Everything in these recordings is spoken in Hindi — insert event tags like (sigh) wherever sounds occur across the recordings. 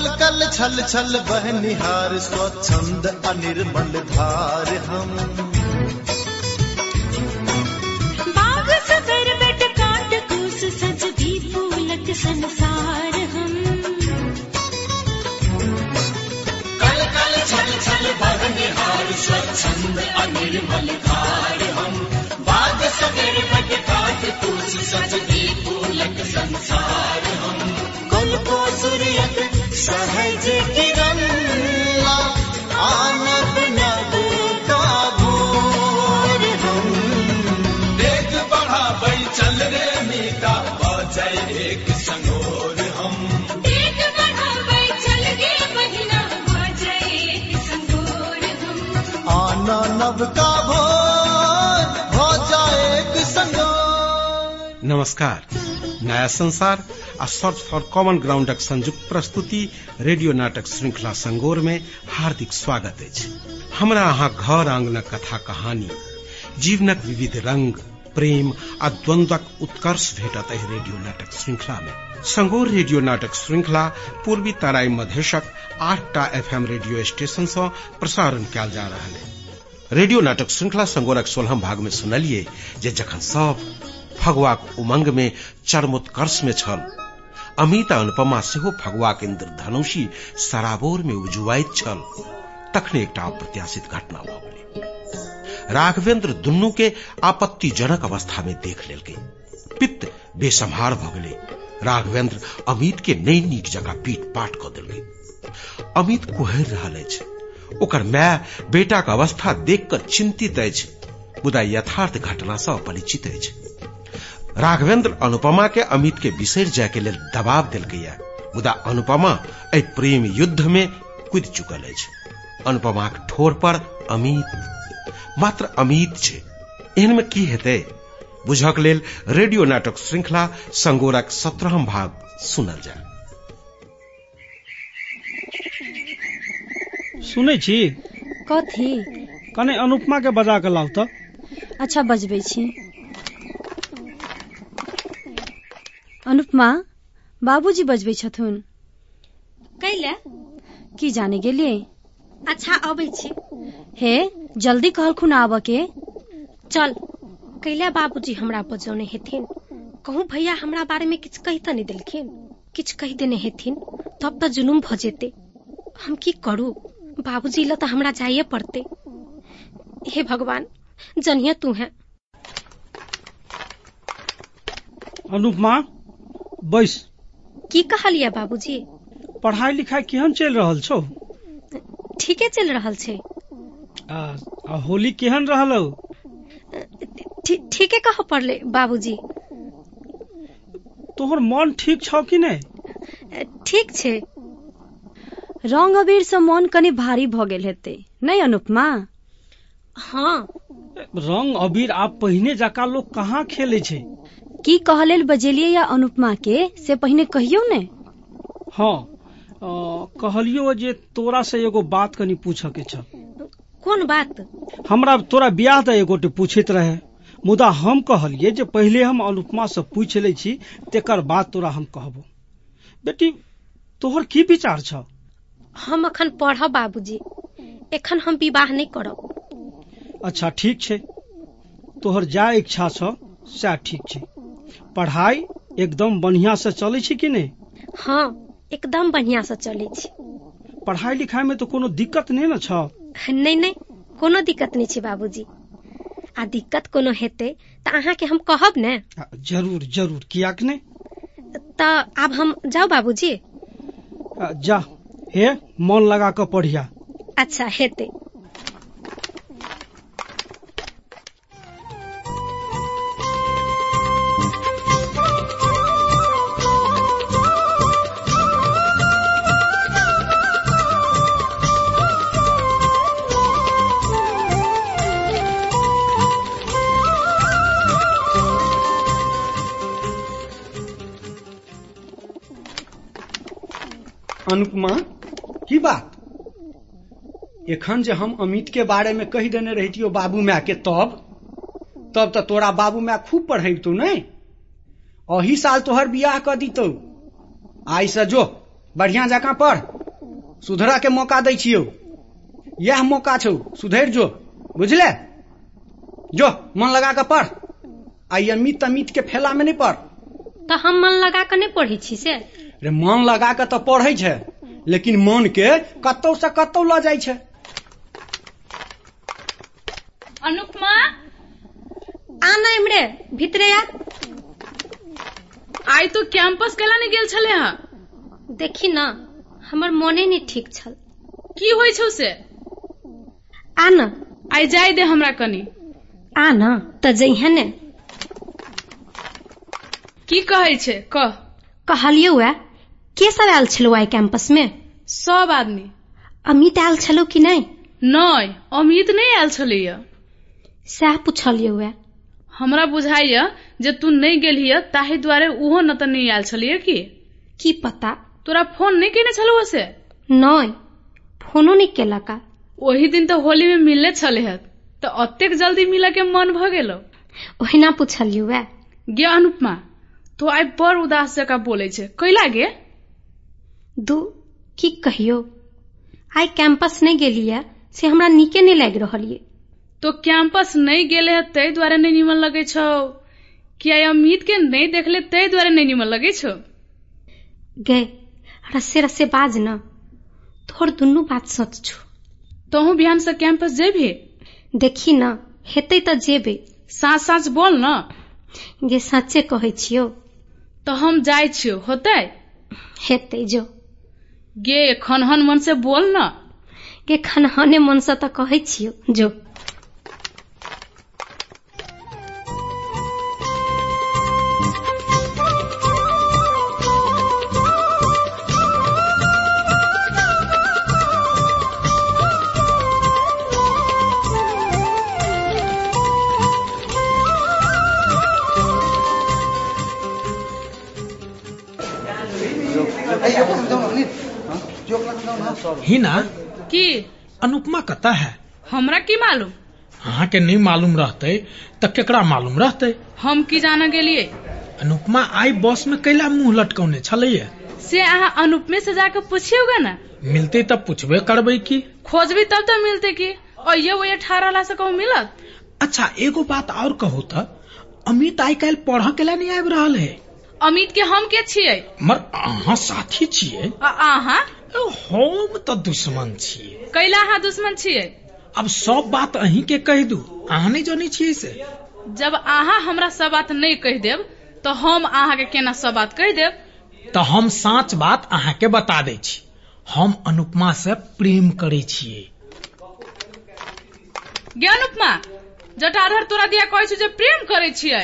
छल छल वह निहार स्वच्छंद अनिर्मल धार हम बाग सबर बट काट कूस सज भी फूलत संसार हम कल कल छल छल बह निहार स्वच्छंद अनिर्मल धार हम बाग सवेर बट काट पूछ सज पूलक संसार हम कुल को सूर्यक सहज किरण ला, आनब नब का भोर हम वेग बढ़ा बल चल रे मीता बजाय एक संगोर हम देख बढ़ा बै चल गे महीना आ जाए एक संगोर हम आना नब का भोर हो जाए एक संगोर नमस्कार नया संसार आ सर्च फॉर कॉमन ग्राउंडक संयुक्त प्रस्तुति रेडियो नाटक श्रृंखला संगोर में हार्दिक स्वागत अछि हमरा अहाँ घर आंगनक कथा कहानी जीवनक विविध रंग प्रेम आ द्वंद्वक उत्कर्ष भेटत एहि रेडियो नाटक श्रृंखला मे संगोर रेडियो नाटक श्रृंखला पूर्वी तराई मधेशक आठटा एफएम रेडियो स्टेशन सँ प्रसारण कयल जा रहल अछि रेडियो नाटक श्रृंखला संगोरक सोलहम भाग में सुनलियै जे जखन सब फगवाक उमंग में चरमोत्कर्ष में छल अमित आ अनुपमा सेहो फगवाक इंद्रधनुषी सराबोर में उजुआइत छल तखने एकटा अप्रत्याशित घटना भऽ गेलै राघवेंद्र दुनू के आपत्तिजनक अवस्था में देख लेलकै पित्त बेसम्हार भऽ गेलै राघवेंद्र अमित के नहि नीक जकाँ पीट पाट कऽ देलकै अमित कुहरि रहल अछि ओकर माय बेटाक अवस्था देख कऽ चिंतित अछि मुदा यथार्थ घटना सँ अपरिचित अछि राघवेंद्र अनुपमा के अमित के बिसरि जाय के लेल दबाव देलकैया मुदा अनुपमा एहि प्रेम युद्ध में कूदि चुकल अछि अनुपमाक ठोर पर अमित मात्र अमित छै एहन में की हेतै बुझक लेल रेडियो नाटक श्रृंखला संगोरक सत्रहम भाग सुनल जाय सुनै छी कथी कने अनुपमा के बजा के लाउ तऽ अच्छा बजबै छी अनुपमा बाबूजी बजबै छथुन कैले की जाने गेलियै अच्छा अबै छी हे जल्दी कहलखुन आबके चल कैले बाबूजी हमरा बजौने हेथिन कहूँ भैया हमरा बारेमे किछु कहि तऽ नहि देलखिन किछु कहि देने हेथिन तब तऽ जुलुम भऽ जेतै हम की करू बाबूजी लए तऽ हमरा जाइए पड़तै हे भगवान जनिए तू है अनुपमा बैस की कहलियै बाबूजी पढ़ाई लिखाई केहन चलि रहल छौ ठीके चलि रहल छै आ, आ होली केहन रहल हौ? ठी- ठीके कहऽ पड़ले बाबूजी तोहर मन ठीक छौ कि नहि ठीक छै रंग अबीर सँ मोन कनि भारी भऽ गेल हेतै नहि अनुपमा हँ रंग अबीर आब पहिने जकाँ लोक कहाँ खेलै छै की कह लेल बजेलियै या अनुपमा के से पहिने कहियौ ने हँ अ, कहलियौ जे तोरा से एगो बात कनि पूछऽ के छल कोन बात हमरा तोरा बियाह तऽ एगोटे पूछैत रहे मुदा हम कहलियै जे पहिले हम अनुपमा से पूछि लै छी तेकर बाद तोरा हम कहबो बेटी तोहर की विचार छौ हम अखन पढ़ब बाबूजी एखन हम विवाह नहि करब अच्छा ठीक छै तोहर जा इच्छा छौ सएह ठीक छै पढ़ाई एकदम बढ़िया से चलै छै कि नहि हँ हाँ, एकदम बढ़िया से चलै छी पढ़ाई लिखाई में तऽ कोनो दिक्कत नहि ने छौ नहि नहि कोनो दिक्कत नहि छै बाबूजी आ दिक्कत कोनो हेतै तऽ अहाँके हम कहब ने आ, जरूर जरूर कियाक नहि तऽ आब हम जाउ बाबूजी आ, जा हे मन लगा कऽ पढ़िया अच्छा हेतै अनुपमा की बात एखन जे हम अमित के बारे में कहि देने रहितियौ बाबू माय के तब तब तऽ तोरा बाबू माय खूब पढ़बितौ ने अही साल तोहर बियाह कऽ दितौ आइसँ जो बढ़िया जकाँ पढ़ सुधरऽके मौका दै छियौ इएह मौका छौ सुधरि जो बुझले जो मन लगा कऽ पढ़ आ ई अमित अमितके फेलामे नहि पढ़ तऽ हम मन लगा कऽ नहि पढ़ै छी से रे मन लगा कऽ तऽ पढ़ै छै लेकिन मनके कतौ सँ कतौ लऽ जाइ छै अनुपमा आ ना इमरे भीतरे आ आई तो कैंपस कैला ने गेल छले हँ देखी ना हमर मोने नहि ठीक छल की होइ छौ से आ ना आई जाय दे हमरा कनी आ ना तऽ जइहे ने की कहै छै कह कहलियौ ए के सब आयल छलौ आइ कैंपस मे सब आदमी अमित आयल छलौ कि नहि नहि अमित नहि आयल छलैया सएह पुछलियौ ए हमरा बुझाइया जे तू नहि गेलहिय ताहि दुआरे ओहो न तऽ नहि आयल छलियै की की पता तोरा फोन नहि केने छलहुँ से नहि फोनो नहि केलक आ ओहि दिन तऽ होली मे मिलले छले हँ तऽ ओतेक जल्दी मिलऽ के मन भऽ गेलौ ओहिना पुछलियौ ए गे अनुपमा तो आइ बड़ उदास जकाँ बोलै छै कैला गे दू की कहियौ आइ कैंपस नहि गेलियै से हमरा नीके नहि लागि रहल ये तो कैंपस नहि गेले हँ ताहि दुआरे नहि नीमन लगै छौ कि आइ अमित के नहि देखले ताहि दुआरे नहि नीमन लगै छौ गए रस्से रस्से बाज न तोहर दुनू बात सच छौ तोहूँ बिहान से कैंपस जेबही देखी न हेतै तऽ जेबै साँच साँच बोल न गे सच्चे कहै छियौ तऽ हम जाइ छियौ होतै हेतै जो गे खनहन मन से बोल न गे खनहने मनसँ तऽ कहै छियौ जो हिना की अनुपमा कतऽ है हमरा की मालूम अहाँके नहि मालूम रहतै तऽ केकरा मालूम रहतै हम की जाना गेलियै अनुपमा आइ बस में कैला मुंह लटकौने छलैये से अहाँ अनुपमे से जाके पूछियोगा न मिलते तऽ पुछबे करबै की खोजबी तब तऽ मिलते की अये ओये ठाढ़ रहला से कहूँ मिलत अच्छा एगो बात और कहू तऽ अमित आइ काल्हि पढ़ऽ के लए नहि आबि रहल है अमित के हम के छियै मगर अहाँ साथी छियै आ अहाँ हम तऽ दुश्मन छियै कैला अहाँ दुश्मन छियै अब सब बात अहीं के कहि दू अहाँ नहि जनै छियै से जब अहाँ हमरा सब बात नहि कहि देब तऽ हम अहाँके केना सब बात कहि देब तऽ हम साँच बात अहाँके बता दै छी हम अनुपमा से प्रेम करै छियै गे अनुपमा जटाधर तोरा दिया कहै छौ जे प्रेम करै छियै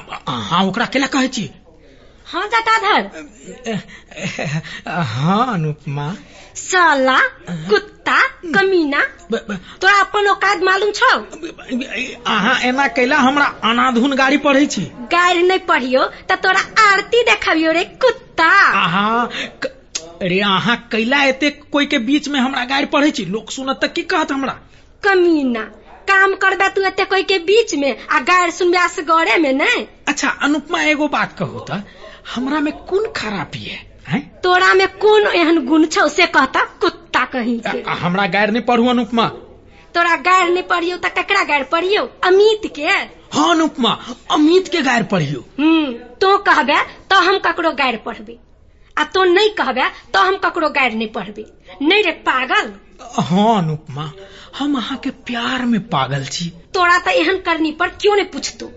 अब अहाँ ओकरा केला कहै छी हँ जटाधर हँ अनुपमा साला कुत्ता कमीना ब- ब- तोरा अपन औकात मालूम छौ अहाँ एना कैला हमरा अनाधुन गाड़ी पढ़ै छी गारि नहि पढ़ियो तऽ तोरा आरती देखाबियो रे कुत्ता अहाँ क- रे अहाँ कैला एतेक कोइ के बीच में हमरा गारि पढ़ै छी लोक सुनत तऽ की कहत हमरा कमीना काम करबे तू एते कोई के बीच में आ गारि सुनबे असगरे में नहि अच्छा अनुपमा एगो बात कहू तऽ हमरा में कोन खराबी है हैं? तोरा में कोन एहन गुण छौ से कहता कुत्ता कहीं के आ- हमरा गारि नहि पढ़ू अनुपमा तोरा गारि नहि पढ़ियौ तऽ ककरा गारि पढ़ियौ अमित के हँ हाँ, अनुपमा अमित के गारि पढ़ियौ हम्म तो कहबे तऽ हम ककरो गारि पढ़बै आ तो नहि कहबे तऽ हम ककरो गारि नहि पढ़बै नहि रे पागल हँ हाँ, अनुपमा हम अहाँके प्यार में पागल छी तोरा तऽ एहन करनी पर क्यों नहि पूछतो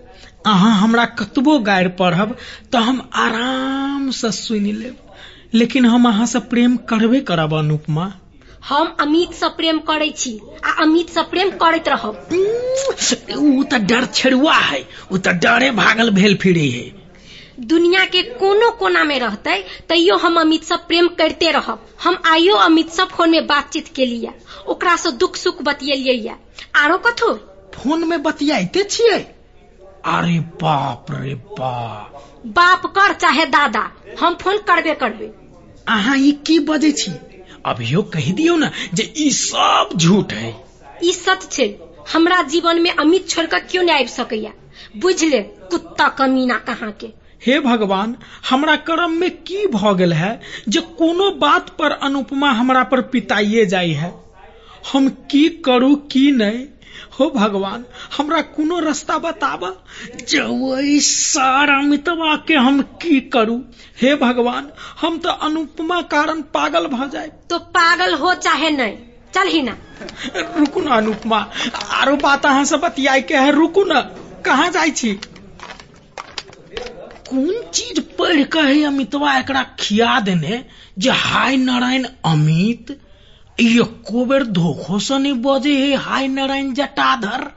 अहाँ हमरा कतबो गारि पढ़ब तऽ हम आराम से सुनि लेब लेकिन हम अहाँ से प्रेम करबे करब अनुपमा हम अमित से प्रेम करै छी आ अमित से प्रेम करैत रहब उम्म, उ तऽ डर छेड़ुआ है उ तऽ डरे भागल भेल फिरे है दुनिया के कोनो कोना में रहते तैयो हम अमित से प्रेम करते रहब हम आइयो अमित से फोन में बातचीत केलिए ओकरा से दुख सुख बतियेलियै ये आरो कथो फोन में बतियाइते छियै अरे बाप रे बाप बाप कर चाहे दादा हम फोन करबे करबे अहाँ ई की बजै छी अभियो कहि दियौ ने जे ई सब झूठ है ई सच छै हमरा जीवन में अमित छोड़ के क्यों नहीं आबि सकैया बुझ ले कुत्ता कमीना कहाँ के हे भगवान हमरा कर्म में की भ गेल है जे कोनो बात पर अनुपमा हमरा पर पिताइए जाई है हम की करू की नहीं हो भगवान हमरा कोनो रास्ता बताब जवई सारा मितवा के हम की करू हे भगवान हम तो अनुपमा कारण पागल भ जाए तो पागल हो चाहे नहीं चल ही ना रुकू ना अनुपमा आरो बात अहाँ से बतियाय के है रुकू ना कहाँ जाय छी कोन चीज पढ़ के है अमितवा एकरा खिया देने जे हाय नारायण अमित एको बेर धोखो से नहीं बजे हे हाय नारायण जटाधर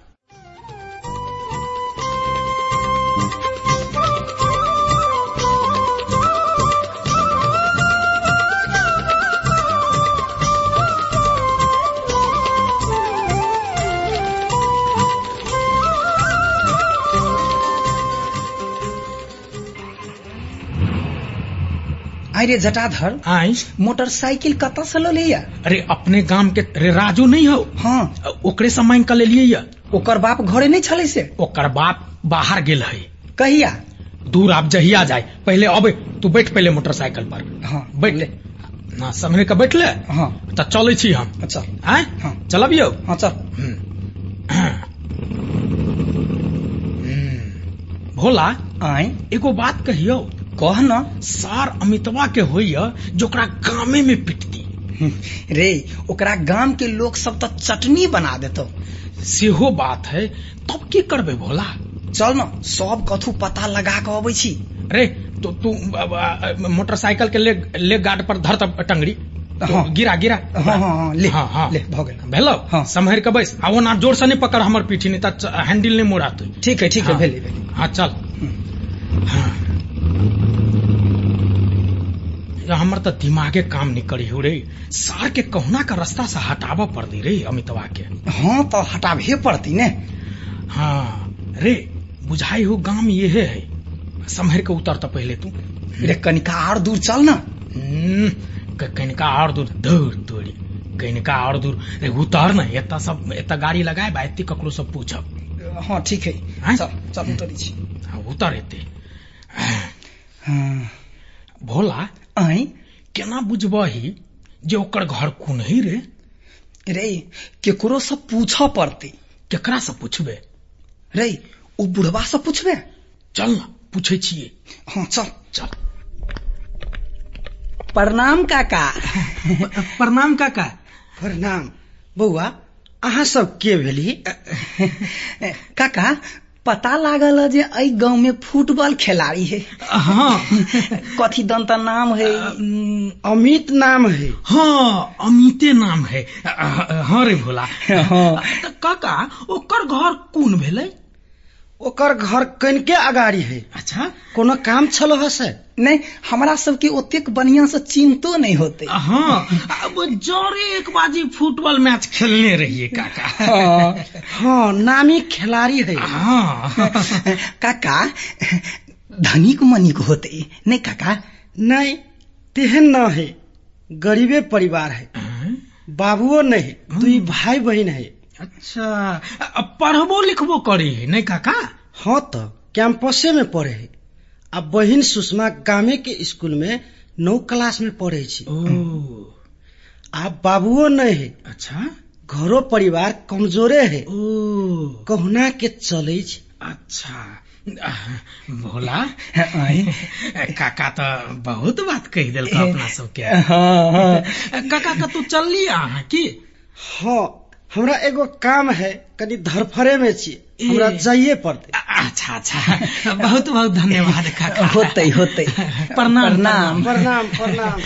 आय रे जटाधर आय मोटरसाइकिल कत से लले या अरे अपने गाम के रे राजू नहीं हो हाँ ओकरे से मांग के लेलिए या ओकर बाप घरे नहीं छले से ओकर बाप बाहर गेल है कहिया दूर आप जहिया जाए पहले अबे तू बैठ पहले मोटरसाइकिल पर हाँ बैठ ले ना समझे के बैठ ले हाँ तो चले छी हम अच्छा आय हाँ। चलब यौ हाँ चल हम्म। हम्म। भोला आय एगो बात कहियो कह ना सार अमितवा के होइया जोकरा गामे में पिटती रे ओकरा गाम के लोग सब तो चटनी बना देतो सेहो बात है तब की करबे भोला चल ना सब कथू पता लगा के अबै छी रे तो तू अ, अ, मोटरसाइकिल के लेग लेग गार्ड पर धर तब टंगड़ी तो हाँ। गिरा गिरा हाँ, हाँ, हाँ, ले, हाँ, हाँ। ले, भऽ गेल। भेलौ हाँ। सम्हरि के बैस आ ओना जोर से नहि पकड़ हमर पीठी नहीं तऽ हैंडल नहीं मोड़ा तू ठीक है ठीक है हम्म। हाँ। भेले भेले हाँ चल हाँ। या हमर तऽ दिमागे काम नहीं करी हो रे सार के कहुना का रास्ता से हटाबऽ पड़ दी रे अमितवा के हाँ तो हटाबे पड़ती ने हाँ रे बुझाई हो गाम ये है सम्हरि के उतर तऽ पहले तू रे कनिका और दूर चल ना हम्म, क- कनिका आओर दूर धूर तोरी कनिका आओर दूर रे उतर ने एतऽ सब एतऽ गाड़ी लगाए बा एते ककरो सब पूछब हाँ ठीक आँय? है चल चल उतरी छी आ, उतर एते हाँ भोला आय केना बुझबही जे ओकर घर कोन है रे रे केकरो से पूछ पड़ती केकरा से पूछबे रे ओ बुढ़वा से पूछबे चल ना पूछे छियै हाँ चल चल प्रणाम काका प्रणाम काका प्रणाम बौआ अहाँ सब के भेली काका पता लागल है जे एहि गाँव में फुटबॉल खिलाड़ी है हाँ कथी दन त नाम है अमित नाम है हाँ अमिते नाम है हाँ रे भोला हाँ। तऽ काका ओकर घर कोन भेलै ओकर घर कनिके अगाड़ी है अच्छा कोनो काम छलो है से नहीं हमरा सबके ओतेक बढ़िया से चिन्हतो नहीं होते हाँ अब जरे एक बाजी फुटबॉल मैच खेलने रहिए काका हाँ नामी खिलाड़ी है हाँ काका धनिक मनिक होते नहीं काका नहीं तेहन ना है गरीबे परिवार है बाबुओ नहीं दुई भाई बहन है हम्म। अच्छा आ, पढ़बो लिखबो करी है नहीं काका हाँ तो कैंपसे में पढ़े है आ बहिन सुषमा गामे के स्कूल में नौ क्लास में पढ़े छी ओ आ बाबुओ नहीं है अच्छा घरो परिवार कमजोरे है ओ कहुना के चले छी अच्छा आ, भोला आँय। काका तो बहुत बात कह दिल अपना सबके हाँ हाँ काका का तू चलली अहाँ की हाँ हमरा एगो काम है कनी धरफरे में छी ए। हमरा जाइए पड़ते अच्छा अच्छा बहुत बहुत धन्यवाद काका होते होते प्रणाम प्रणाम। प्रणाम प्रणाम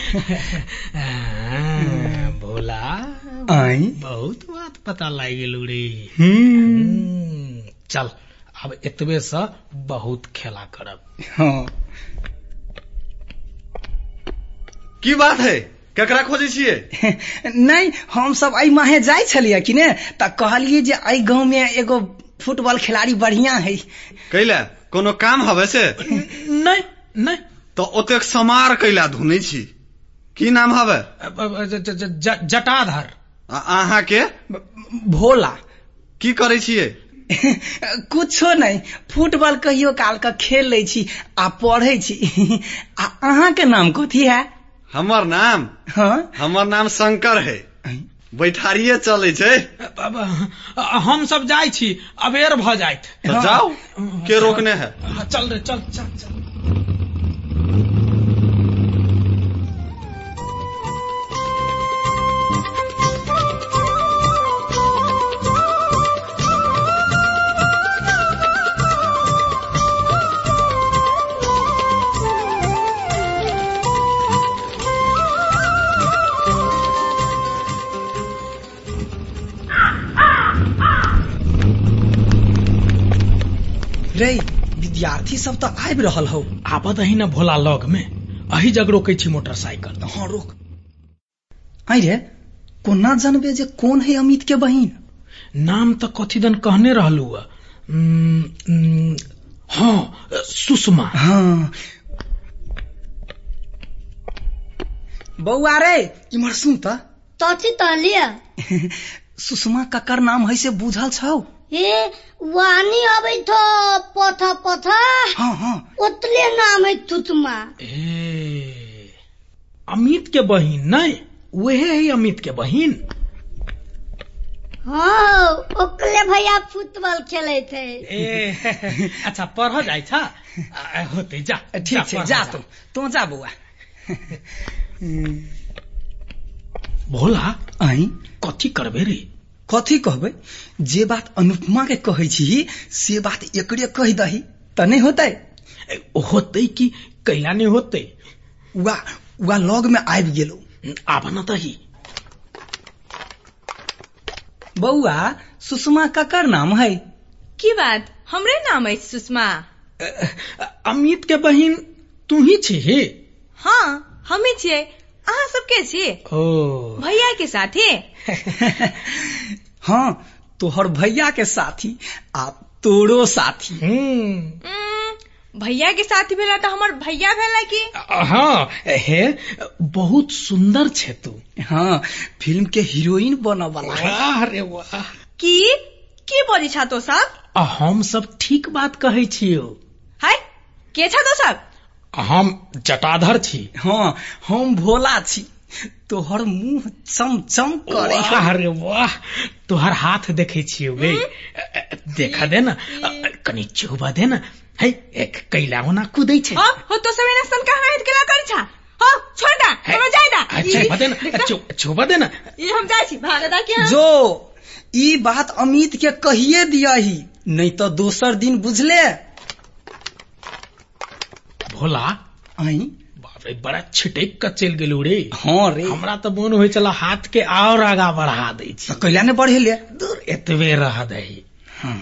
आ, भोला आय बहुत बात पता लागि गेल रे हम्म हम्म, चल आब एतबे सँ बहुत खेला करब हाँ की बात है ककरा खोजै छियै नहीं हम सब एहि माहे जाइ छलियै कि ने तऽ कहलियै जे एहि गाँव में एगो फुटबॉल खिलाड़ी बढ़िया है कैला कोनो काम हवे से नहि नहि तऽ ओतेक समार कैला धुनै छी की नाम हवे अब- अब- ज- ज- ज- ज- जटाधर आ अहाँके भोला की करै छियै कुछो नहि फुटबॉल कहियो काल के खेल लै छी आ पढ़ै छी आ अहाँके नाम कथी है हमर नाम हाँ? हमर नाम शंकर है बैठारिये चलै छै बाबा हम सब जाइ छी अबेर भऽ जाइत तऽ जाउ तो के रोकने है हाँ, चल रे चल चल चल रे विद्यार्थी सब तऽ आबि रहल हौ आबऽ दही न भोला लग में अही जग रोकै छी मोटरसाइकिल हाँ रोक आइ रे कोना जनबे जे कोन है अमित के बहिन नाम तऽ कथी दन कहने रहलू हँ हाँ, सुषमा हाँ बौआ रे इम्हर सुन तऽ तथी तऽ लिअ सुषमा ककर नाम है से बूझल छौ हे वानी अबै थो पथ पथ हाँ हाँ ओतले नाम है तुतमा ए, अमित के बहिन नहीं उहे है अमित के बहिन हाँ ओकले भैया फुटबॉल खेले थे ए, अच्छा पढ़ जाइ छ आ, होते जा ठीक छै पढ़ जा तू हम्म। तू जा बौआ भोला आइ कथी करबे रे कथी कहबै जे बात अनुपमा के कहै छी से बात एकरे कहि दही तऽ नहि होतै ए, होते कि कैला नहीं होते उहा उहा लग में आबि गेलौ आबऽ न दही बौआ सुषमा ककर नाम है की बात हमरे नाम अछि सुषमा अमित के बहिन तू ही छी हाँ हमी छियै अहाँ सब के छियै ओ भैया के साथे हाँ तोहर भैया के साथी आ तोरो साथी हम्म उम्म, भैया के साथी भेला तऽ हमर भैया भेला की हाँ हे बहुत सुंदर छे तू हाँ फिल्म के हीरोइन बनऽ वाला है वाह रे वाह की की बजै छा तो सब आ हम सब ठीक बात कहै छियौ है के छा तो सब हम जटाधर छी हाँ हम भोला छी तोहर मुंह चमचम करे है। वाह रे वाह तोहर हाथ देखै छियौ गे देखा दे न कनि चुबा दे न है एक कैला ओना कुदै छै हो हो तो सब एना सन कहाँ हेत केला करै छा हो छोड़ दा है। हमरा जाय दा आ, चुबा दे न चु- चुबा दे न ई हम जाइ छी भागदा के हम जो ई बात अमित के कहिए दियही नहीं तो दोसर दिन बुझले भोला आई बाप रे बड़ा छिटैक के चलि गेलू रे हाँ रे हमरा तऽ मोन होइ छला हाथ के और आगा बढ़ा दै छी तो कैला ने बढ़ेले दूर एतबे रह दही हाँ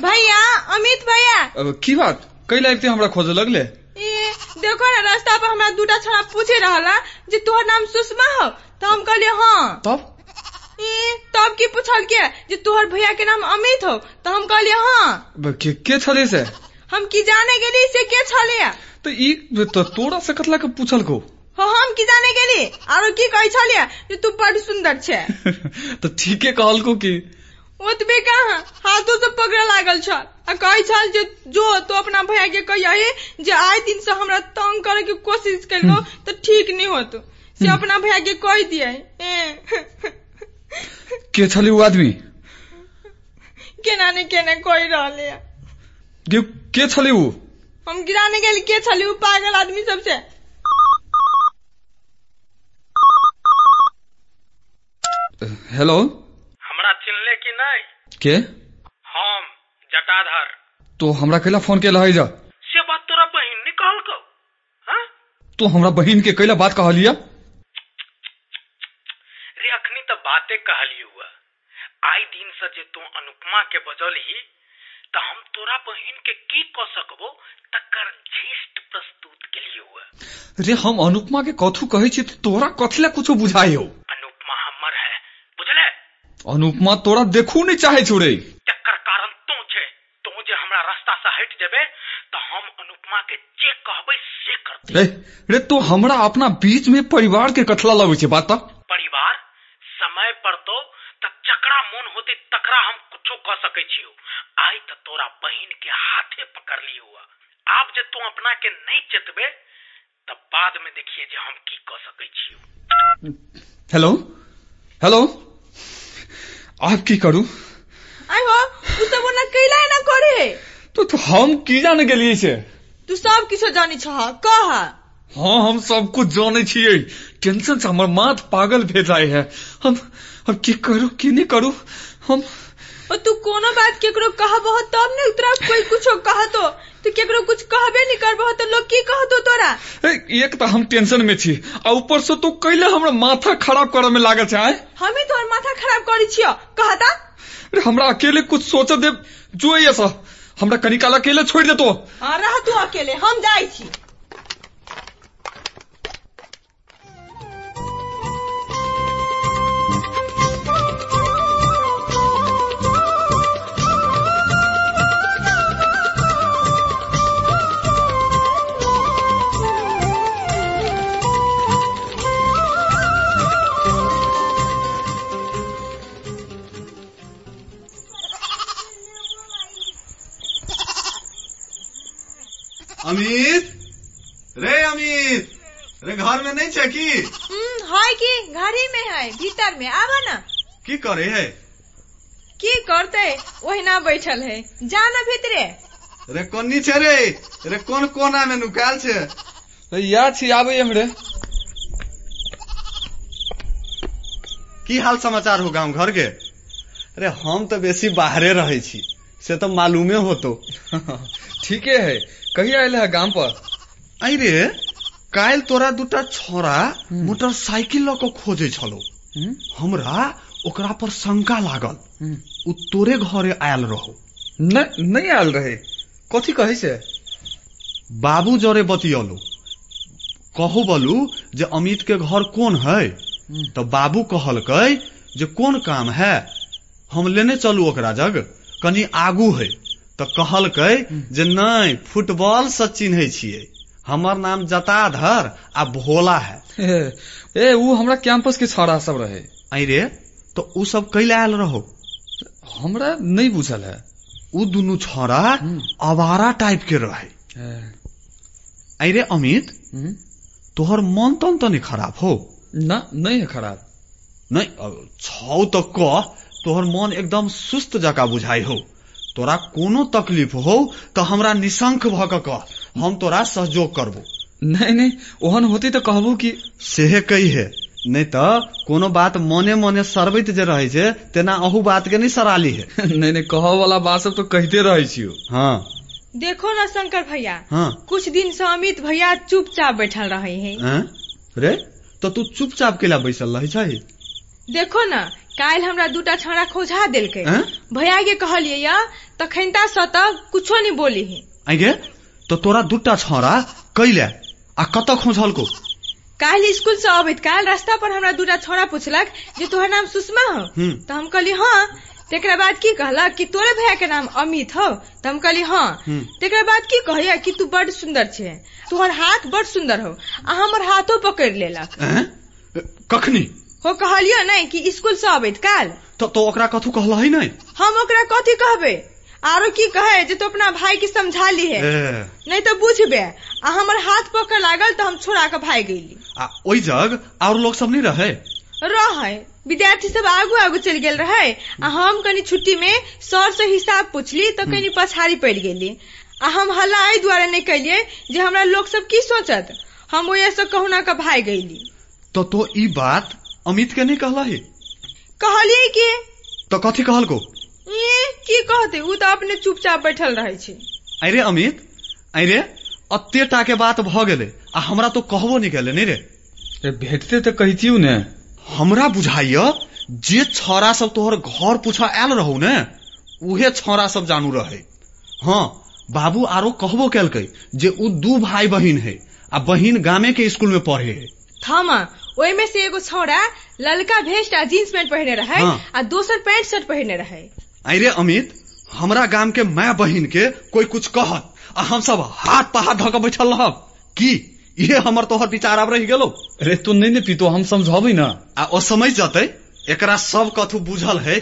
भैया अमित भैया अब की बात कैला आबिते हमरा खोजे लगले ए देखो ना रास्ता पर हमरा दूटा छौड़ा पूछे रहला जे तोहर नाम सुषमा हो तऽ हम कहलियै हाँ तब ए तब की पूछलकै जे तोहर भैया के नाम अमित हो तऽ हम कहलियै हाँ ब- के, के छले से हम की जाने गेली से के छले तो ई तो तोरा से कतला के पूछलको हो हम की जाने गेली आरो की कहै छलियै जे तू बड़ सुंदर छे तो ठीके कहलको की ओतबे कहाँ हाथो से पकड़े लागल छल आ कहै छल जे जो तो अपना भैया के कहिए जे आए दिन से हमरा तंग करे के कोशिश करलो तऽ ठीक नहीं होतो से अपना भैया के कह दिए के छले वो आदमी केना ने केना कहि रहले हँ। के, के छले वो हम गिराने गेली के छली उ पागल आदमी सबसे हेलो हमरा चिन्हले कि नहीं के हम जटाधर तो हमरा कैला फोन के है जा से बात तोरा बहिन ने कहलको हाँ? तो हमरा बहिन के कैला बात कहलिया रे अखनी तो बाते कहलियो हुआ आई दिन से जे तू अनुपमा के बजलही तो हम तोरा बहन के की क सकबो तकर झिष्ट प्रस्तुत के लिए हुआ रे हम अनुपमा के कथु कहै छी त तोरा कथि ला कुछो बुझाय हो अनुपमा हमर है बुझले अनुपमा तोरा देखू नहीं चाहे छौ रे तकर कारण तू छे तू जे हमरा रास्ता से हट जेबे तो हम अनुपमा के जे कहबे से करते रे रे तो हमरा अपना बीच में परिवार के कथला लगे छे बात त? परिवार समय पर तो त जकरा मोन होते तकरा हम कुछो कह सकै छियो आई त तोरा बहिन के हाथे पकड़ लियो हुआ आप जे तू अपना के नहीं चेतबे तब बाद में देखिए जे हम की कह सकै छियो हेलो हेलो आप की करू आई हो तू सब ओना कैला एना करे है तो, तो हम की जाने गेलिए छे तू सब किछो जानी छह कह हाँ हम सब कुछ जाने छिए टेंशन से हमर माथ पागल भेल जाए है हम हम की करू की नहीं करू हम और तू कोनो बात केकरो कहबह तब ने उतरा कोई कुछो कहतो तू केकरो कुछ कहबे नहीं करबह तो लोग की कहतो तोरा ए, एक तो हम टेंशन में छी आ ऊपर से तो कैले हमरा माथा खराब करे में लागल छे आय? हम ही तोहर माथा खराब करी छियो कहता अरे हमरा अकेले कुछ सोच दे जो ये सा हमरा कनिकाल अकेले छोड़ दे (laughs) तो आ हाँ, रह तू अकेले हम जाई छी अमित रे अमित रे घर में नहीं छे की हम्म हाय की घड़ी में है भीतर में आवा ना की करे है की करते ओहिना बैठल है जा ना भीतरे रे कोनी छे रे रे कोन कोना में नुकाल छे रे या छी आबे हम रे की हाल समाचार हो गांव घर के अरे हम तो बेसी बाहरे रहे छी से तो मालूमे होतो ठीके है कहिया आयल है गांव पर आई रे काल तोरा दूटा छोरा हम्म। मोटरसाइकिल लऽ कऽ खोजै छलौ हमरा ओकरा पर शंका लागल हम्म। उ तोरे घरे आयल रहो नहीं नहीं आयल रहे कथी कहै छै बाबू जरे बतियलू कहू बोलू जे अमित के घर कौन है तो बाबू कहलकै जे कोन काम है हम लेने चलू ओकरा जग कनि आगू है तो कहलकै जे नहीं फुटबॉल से चिन्है छियै हमर नाम जताधर आ भोला है ए (laughs) ए, ऊ हमरा कैंपस के छौड़ा सब रहे आई रे तो उ सब कैले आयल रहो हमरा नहीं बुझल है उ दुनू छोरा आवारा टाइप के रहे ए, आई रे अमित हम्म। तोहर मन तन तो नहीं खराब हो ना नहीं है खराब नहीं अ, छौ तो कह तोहर मन एकदम सुस्त जका बुझाई हो तोरा कोनो तकलीफ हो तो हमरा निशंक भ के कह हम तोरा सहयोग करबो नहीं नहीं ओहन होती तो कहबू कि सेहे कहिहे नहीं तो कोनो बात मने मने सरबैत जे रहे छे तेना अहू बात के नहीं सराली (laughs) है नहीं नहीं कह वाला बात सब तो कहते रहे छियो हाँ देखो ना शंकर भैया हाँ कुछ दिन से अमित भैया चुपचाप बैठल रहे हैं हैं? रे तो तू चुपचाप केला बैसल रहे छै देखो ना काल हमरा दूटा छौड़ा खोजा देलकै हैं? भैया के कहलिए या तखनता से तक कुछो नहीं बोली ही आई गे तो तोरा दूटा छौड़ा कैले आ कतऽ खोजलको काल स्कूल से अबैत काल रास्ता पर हमरा दूटा छौड़ा पूछलक जे तोहर नाम सुषमा हो हम्म। तो हम कहली हाँ तेकरा बाद की कहलक कि तोरे भैया के नाम अमित हो तो हम कहली हाँ तेकरा बाद की कहलिया कि तू बड़ सुंदर छे तोहर हाथ बड़ सुंदर हो आ हमर हाथो पकड़ लेलक हैं? कखनी हो कहलियो नहीं कि स्कूल से अबैत काल तो तो ओकरा कथू कहला है नहीं हम ओकरा कथी कहबे आरो की कहे जे तू अपना भाई के समझा ली है ए, नहीं तो बुझबे आ हमर हाथ पकड़ लागल तो हम छोड़ा के भाग गेली आ ओहि जग और लोग सब नहीं रहे रहे विद्यार्थी सब आगू आगू चल गेल रहे आ हम कनी छुट्टी में सर से हिसाब पूछली तो कनी पछाड़ी पड़ गेली आ हम हल्ला एहि दुआरे नहीं कैलिए जे हमरा लोग सब की सोचत हम ओहे से कहुना के भाग गेली तो तो ई बात अमित के नहीं कहला है कहलिए कि तो कथी कहलको ये की कहते उ तो अपने चुपचाप बैठल रहे छी आई रे अमित आई रे अत्ते टा के बात भ गेले आ हमरा तो कहबो नहीं केले नहीं रे ए, भेटते तो कहतियो ने हमरा बुझाइय जे छौड़ा सब तोहर घर पूछा आयल रहौ ने उहे छौड़ा सब जानू रहे हाँ बाबू आरो कहबो केलकै जे उ दू भाई बहिन है आ बहिन गामे के स्कूल में पढ़े है थमा ओहि में से एगो छौड़ा ललका भेस्ट आ जीन्स पैंट पहिरने रहे हाँ। आ दोसर पैंट शर्ट पहिरने रहे अरे अमित हमरा गाम के माय बहिन के कोई कुछ कहत आ हम सब हाथ पहाड़ धऽ के बैठल रहब की इहे हमर तोहर विचार आब रहि गेलो अरे तू नहीं ने पीतो हम समझाबी ना आ ओ समझ जतै एकरा सब कथू बुझल है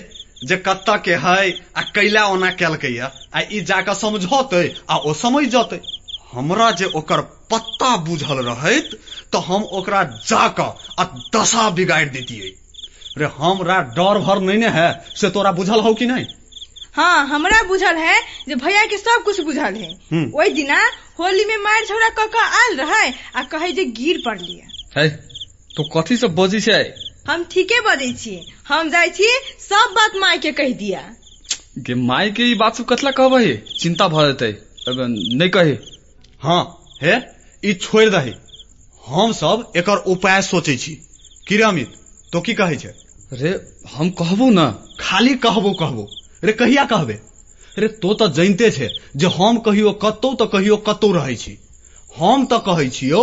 जे कत्ता के है आ कैला ओना केलकै या आ ई जाके समझौतै आ ओ समझ जतै हमरा जे ओकर पत्ता बुझल रहैत तऽ हम ओकरा जाके आ दशा बिगाड़ि दैतियै रे हमरा डर भर नहीं ने है से तोरा बुझल हौ कि नहीं हाँ हमरा बुझल है जे भैया के सब कुछ बुझल है हम्म। ओहि दिना होली में मार छौड़ा कऽ कऽ आयल रहे आ कहे जे गिर पड़लियै है तू कथी सब बजै छै हम ठीके बजै छी हम जाइ छी सब बात माय के कहि दिया गे माय के ई बात सब कथला कहबै हे? चिंता भऽ जेतै अब नहि कहे हाँ हे ई छोड़ि दही हम सब एकर उपाय सोचै छी कि रे अमित तो की कहै छै रे हम कहबो न खाली कहबो कहबो रे कहिया कहबे रे तो तऽ जानिते छै जे हम कहियो कतौ तऽ कहियो कतौ रहै छी हम तऽ कहै छियौ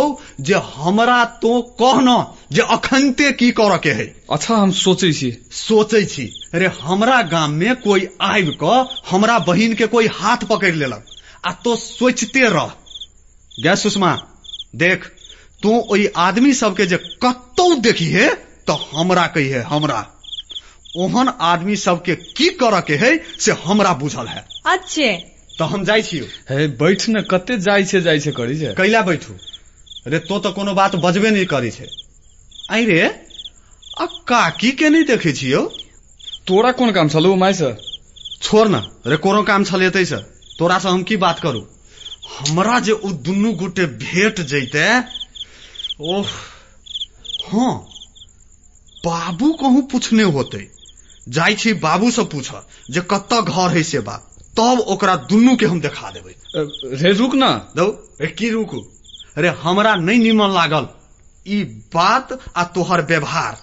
जे हमरा तो कहना जे अखनते की करऽ के है अच्छा हम सोचै छी सोचै छी रे हमरा गाम में कोई आबि कऽ हमरा बहिन के कोई हाथ पकड़ि लेलक आ तो सोचिते रह गै सुषमा देख तू ओहि आदमी सबके जे कतौ देखिहे तऽ तो हमरा कहिहे हमरा ओहन आदमी सबके की करऽ के है से हमरा बुझल है अच्छे तऽ हम जाइ छियौ हे बैठ ने कते जाइ छै जाइ छै करी छै कैला बैठू रे तो तऽ कोनो बात बजबे नहि करै छै आइ रे आ काकी के नहि देखै छियौ तोरा कोन काम छलौ माय से छोड़ न रे कोनो काम छल एतै से तोरा से हम की बात करू हमरा जे ओ दुनू गोटे भेट जैते ओह हाँ बाबू कहूँ पूछने होतै जाइ छी बाबू से पूछऽ जे कतऽ घर है से बात तब ओकरा दुनू के हम देखा देबै रे रुक न दौ रे की रुकू रे हमरा नहि नीमन लागल ई बात आ तोहर व्यवहार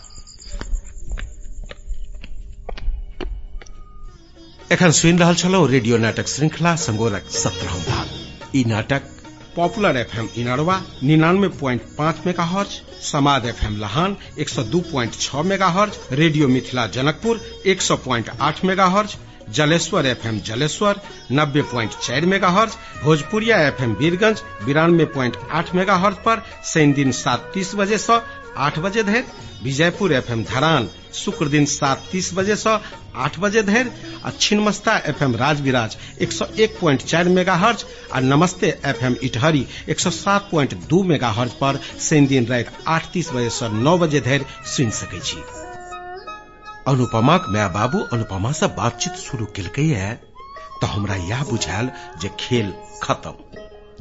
एखन सुनि रहल छलहुँ रेडियो नाटक श्रृंखला संगोरक सत्रहम भाग ई नाटक पॉपुलर एफ एम इनरवा निन्यानवे प्वाइंट पाँच मेगा हर्ज समाद एफ एम लहान एक सौ दू प्वाइंट छओ mega hertz radio Mithila Janakpur एक सौ प्वाइंट आठ मेगा हर्ज जलेश्वर एफ एम जलेश्वर नब्बे प्वाइंट चारि मेगा हर्ज भोजपुरिया एफ एम वीरगंज बिरानवे प्वाइंट आठ मेगा हर्ज पर शनि दिन सात तीस बजे सँ आठ बजे धरि विजयपुर एफ एम धरान शुक्र दिन सात तीस बजे सँ आठ बजे धरि आ छिन्मस्ता एफ एम राजविराज एक सौ एक प्वाइंट चारि मेगा हर्ज आ नमस्ते एफ एम इटहरी एक सौ सात प्वाइंट दू मेगा हर्ज पर शनि दिन राति आठ तीस बजे सँ नओ बजे धरि सुनि सकैत छी अनुपमाक माय बाबू अनुपमा सँ बातचीत शुरू केलकैए तऽ हमरा यह बुझायल जे खेल खत्म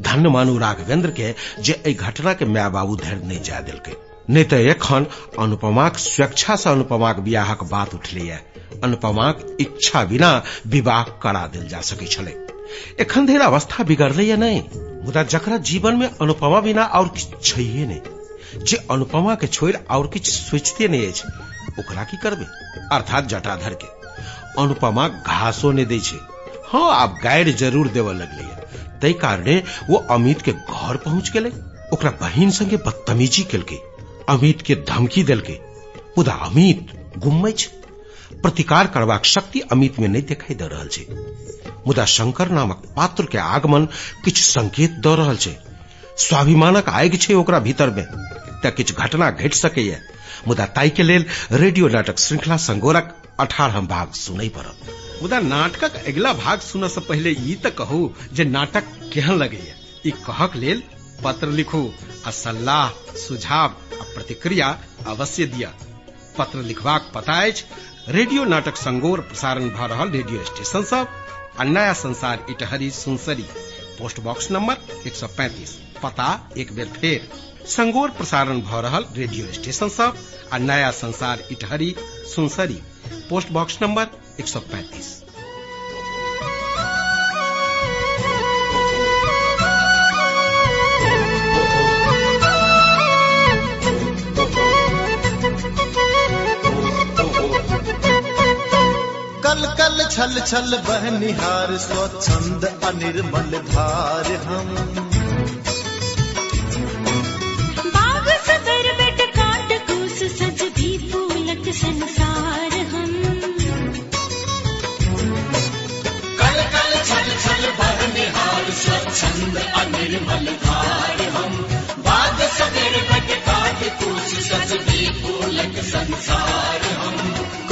धन मानू राघवेंद्र के जे एहि घटना के माय बाबू धरि नहि जाय देलकै नहि तऽ एखन अनुपमाक स्वेच्छा सँ अनुपमाक बियाहक बात उठलैए अनुपमाक इच्छा बिना विवाह करा देल जा सकै छलै एखन धरि अवस्था बिगड़लैए नहि मुदा जकरा जीवन मे अनुपमा बिना आओर किछु छैहे नहि जे अनुपमा के छोड़ि आओर किछु सोचिते नहि अछि ओकरा की करबै अर्थात जटाधर के अनुपमा घासो नहि दै छै हँ आब गाइड जरूर देबऽ लगलैए ताहि कारणे ओ अमित के घर पहुंच गेलै ओकरा बहिन संगे बदतमीजी केलकै अमित के धमकी देलकै मुदा अमित गुम्मै छै प्रतिकार करबाक शक्ति अमित मे नहि देखाइ दऽ रहल छै मुदा शंकर नामक पात्र के आगमन किछु संकेत दऽ रहल छै स्वाभिमानक आगि छै ओकरा भीतर मे तऽ किछु घटना घटि सकैए मुदा ताहि के लेल रेडियो नाटक श्रृंखला संगोरक अठारहम भाग सुनै पड़त मुदा नाटकक अगिला भाग सुनऽ सँ पहिले ई तऽ कहू जे नाटक केहन लगैए ई कहक लेल पत्र लिखू आ सलाह सुझाव आ प्रतिक्रिया अवश्य दिअ पत्र लिखबाक पता अछि रेडियो नाटक संगोर प्रसारण भऽ रहल रेडियो स्टेशन सब आ नया संसार Itahari Sunsari post box number 135 पता एक बेर फेर संगोर प्रसारण भऽ रहल रेडियो स्टेशन सब आ नया संसार Itahari Sunsari post box number 135 Oh, oh, oh. छल छल बह निहार स्वच्छंद अनिर्मल धार हम बाग सदर बेट काट कूस सज भी फूलत संसार हम कल कल छल छल भर निहार स्वच्छंद अनिर्मल धार हम बाग सदर बेट काट कूस सज भी फूलत संसार हम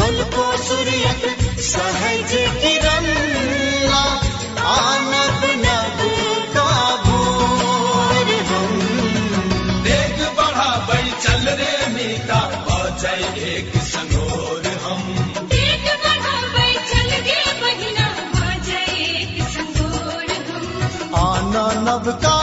कल को सूर्यक सहज किरण आनब नब का भोर हम देख बढ़ा बढ़ चल रे मीता हो जाए एक संगोर हम देख बढ़ा बढ़ चल गे बहिना हो जाए एक संगोर हम आना नब का